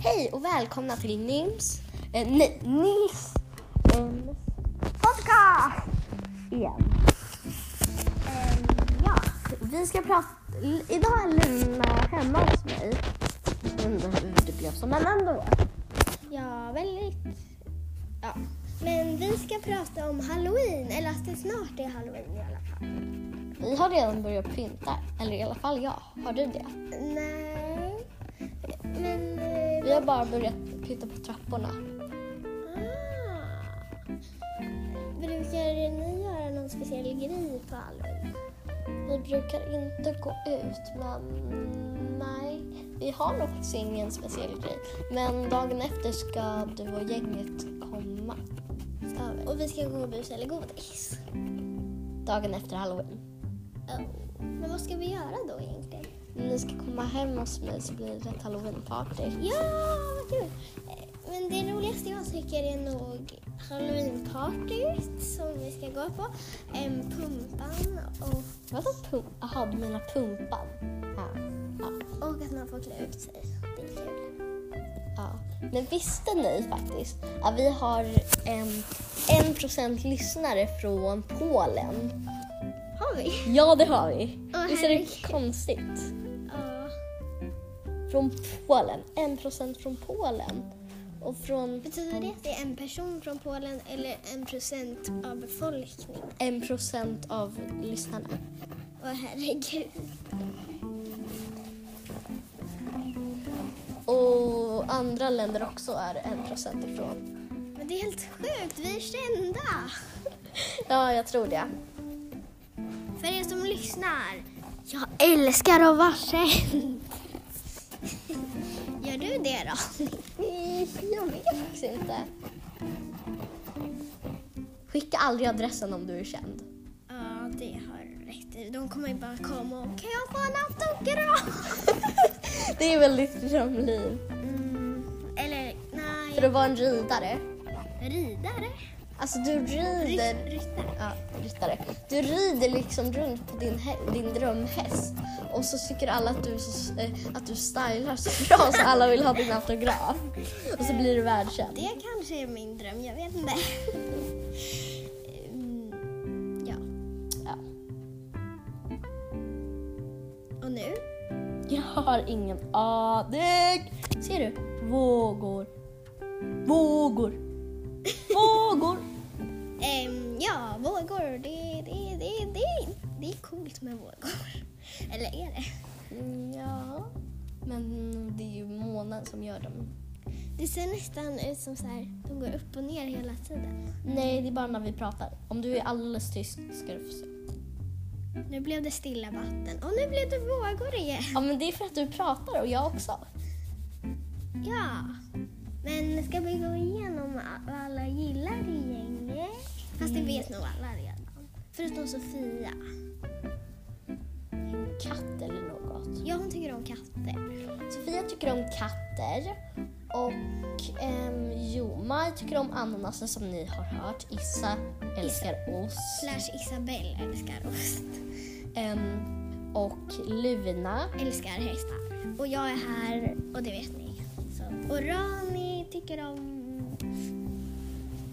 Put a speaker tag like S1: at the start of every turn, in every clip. S1: Hej och välkomna till Nims... Eh, nej, Nils... ehm, podcast! Igen. Ehm, ja, vi ska prata... l- Idag är Luna hemma hos mig. Undrar hur det blev så, men ändå.
S2: Ja, väldigt. Ja. Men vi ska prata om halloween, eller att det snart är halloween i alla fall.
S1: Vi har redan börjat pynta, eller i alla fall jag. Har du det?
S2: Nej, men... eh,
S1: Vi har bara börjat pynta på trapporna.
S2: Ah. Brukar ni göra någon speciell grej på halloween?
S1: Vi brukar inte gå ut, men nej. Vi har nog faktiskt ingen speciell grej. Men dagen efter ska du och gänget komma över.
S2: Och vi ska gå och busa eller godis.
S1: Dagen efter halloween.
S2: Oh. Men vad ska vi göra då egentligen?
S1: Ni ska komma hem hos mig så blir det ett halloweenparty.
S2: Ja, vad kul! Eh, Men det roligaste jag tycker är nog halloweenpartyt som vi ska gå på. Em, Pumpan och,
S1: Vadå pump? Jaha, du menar pumpan? Ja. ja.
S2: och att man får klä ut sig. Det är kul.
S1: ja. Men visste ni faktiskt att vi har en, en procent lyssnare från Polen?
S2: Har vi?
S1: Ja, det har vi.
S2: Åh,
S1: Visst är det
S2: herregud.
S1: konstigt?
S2: Ja.
S1: Från Polen. En procent från Polen. Och från
S2: Betyder det att det är en person från Polen eller en procent av befolkningen?
S1: en procent av lyssnarna.
S2: Åh herregud.
S1: Och andra länder också är en procent ifrån.
S2: Men det är helt sjukt, vi är kända!
S1: Ja, jag tror det.
S2: För er som lyssnar, jag älskar att vara känd. Gör du det då?
S1: Jag vet faktiskt inte. Skicka aldrig adressen om du är känd.
S2: Ja, det har du rätt i. De kommer ju bara komma och kan jag få en autograf?
S1: Det är väl ditt drömliv.
S2: Mm, eller
S1: För
S2: nej,
S1: att vara en ridare.
S2: ridare?
S1: Alltså du rider...
S2: Ry- Ryttare?
S1: Ja, ryttare. Du rider liksom runt på din, hä- din drömhäst och så tycker alla att du, är så, eh, att du stylar så bra så alla vill ha din autograf. Och så blir du världskänd.
S2: Det kanske är min dröm, jag vet inte. Mm, ja,
S1: Ja.
S2: och nu?
S1: Jag har ingen aning. Ser du? Vågor. Vågor. Vågor.
S2: Ehm, ja, vågor. Det, det, det, det, det är coolt med vågor. Eller är det?
S1: Mm, ja. Men det är ju månen som gör dem.
S2: Det ser nästan ut som så här, de går upp och ner hela tiden.
S1: Nej, det är bara när vi pratar. Om du är alldeles tyst ska du få se.
S2: Nu blev det stilla vatten och nu blev det vågor igen.
S1: Ja, men det är för att du pratar och jag också.
S2: Ja, men ska vi gå igenom vad alla gillar i gänget? Fast det vet nog alla redan. Förutom Sofia.
S1: En katt eller något.
S2: Ja, hon tycker om katter.
S1: Sofia tycker om katter. Och ehm, jo, Maj tycker om ananasen som ni har hört. Issa älskar ost.
S2: Slash Isabelle älskar ost.
S1: Ehm, och Luna.
S2: Älskar hästar. Och jag är här och det vet ni. Så. Och Rani tycker om...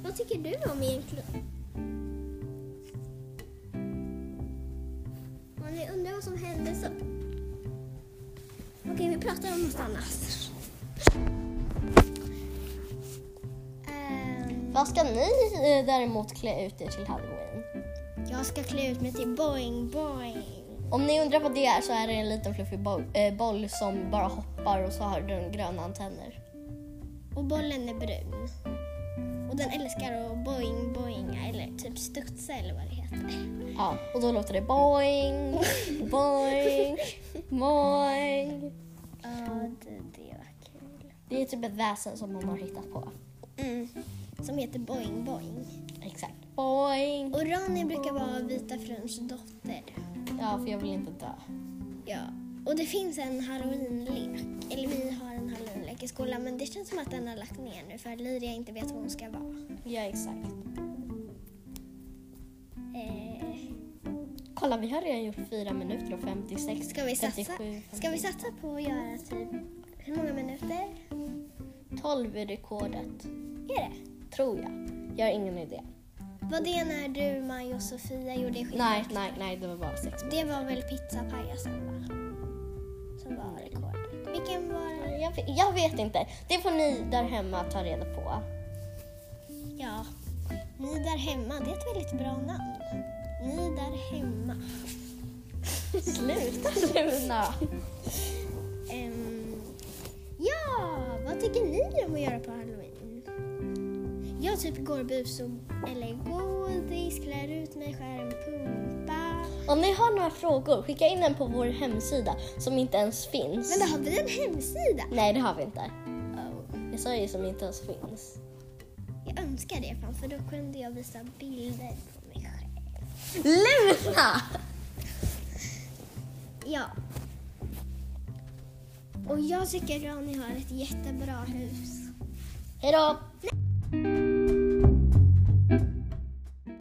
S2: Vad tycker du om egentligen? Om ni undrar vad som hände så... Okej, vi pratar om något annat. Ehm,
S1: Vad ska ni eh, däremot klä ut er till halloween?
S2: jag ska klä ut mig till Boing Boing.
S1: Om ni undrar vad det är så är det en liten fluffig boll, eh, boll som bara hoppar och så har den gröna antenner.
S2: Och bollen är brun. Och den älskar att boing boinga eller typ studsa eller vad det heter.
S1: Ja, och då låter det boing, boing, boing.
S2: Ja, det, det var kul.
S1: Det är typ ett väsen som man har hittat på.
S2: Mm. Som heter Boing Boing.
S1: Exakt. Boing.
S2: Och Ronny brukar vara Vita fruns dotter.
S1: Ja, för jag vill inte dö.
S2: Ja. Och det finns en halloweenlek. Eller vi har en halloweenlek i skolan men det känns som att den har lagt ner nu för Lydia inte vet vad hon ska vara.
S1: Ja, exakt.
S2: Eh,
S1: Kolla, vi har redan gjort 4 minuter och 56.
S2: ska, vi satsa,
S1: 57.
S2: ska vi satsa på att göra typ Hur många minuter
S1: 12 är rekordet,
S2: är det?
S1: tror jag. Jag har ingen idé.
S2: Var det när du, Maj och Sofia gjorde skillnad?
S1: Nej, nej, nej, det var bara 6
S2: Det var väl pizzapajasen va? Som var rekordet. Vilken var det?
S1: jag, vet- jag vet inte. Det får ni där hemma ta reda på.
S2: Ja, ni där hemma. Det är ett väldigt bra namn. Ni där hemma.
S1: Sluta Luna!
S2: Ehm, ja, vad tycker ni om att göra på halloween? Jag typ går och busar och- eller godis, klär ut mig, skär en pumpa.
S1: Om ni har några frågor, skicka in en på vår hemsida som inte ens finns.
S2: Men då har vi en hemsida.
S1: Nej, det har vi inte.
S2: Oh,
S1: Jag sa ju som inte ens finns.
S2: jag önskar det fan för då kunde jag visa bilder på mig själv.
S1: Luna!
S2: Ja. Och jag tycker Ronny har ett jättebra hus.
S1: Hej då!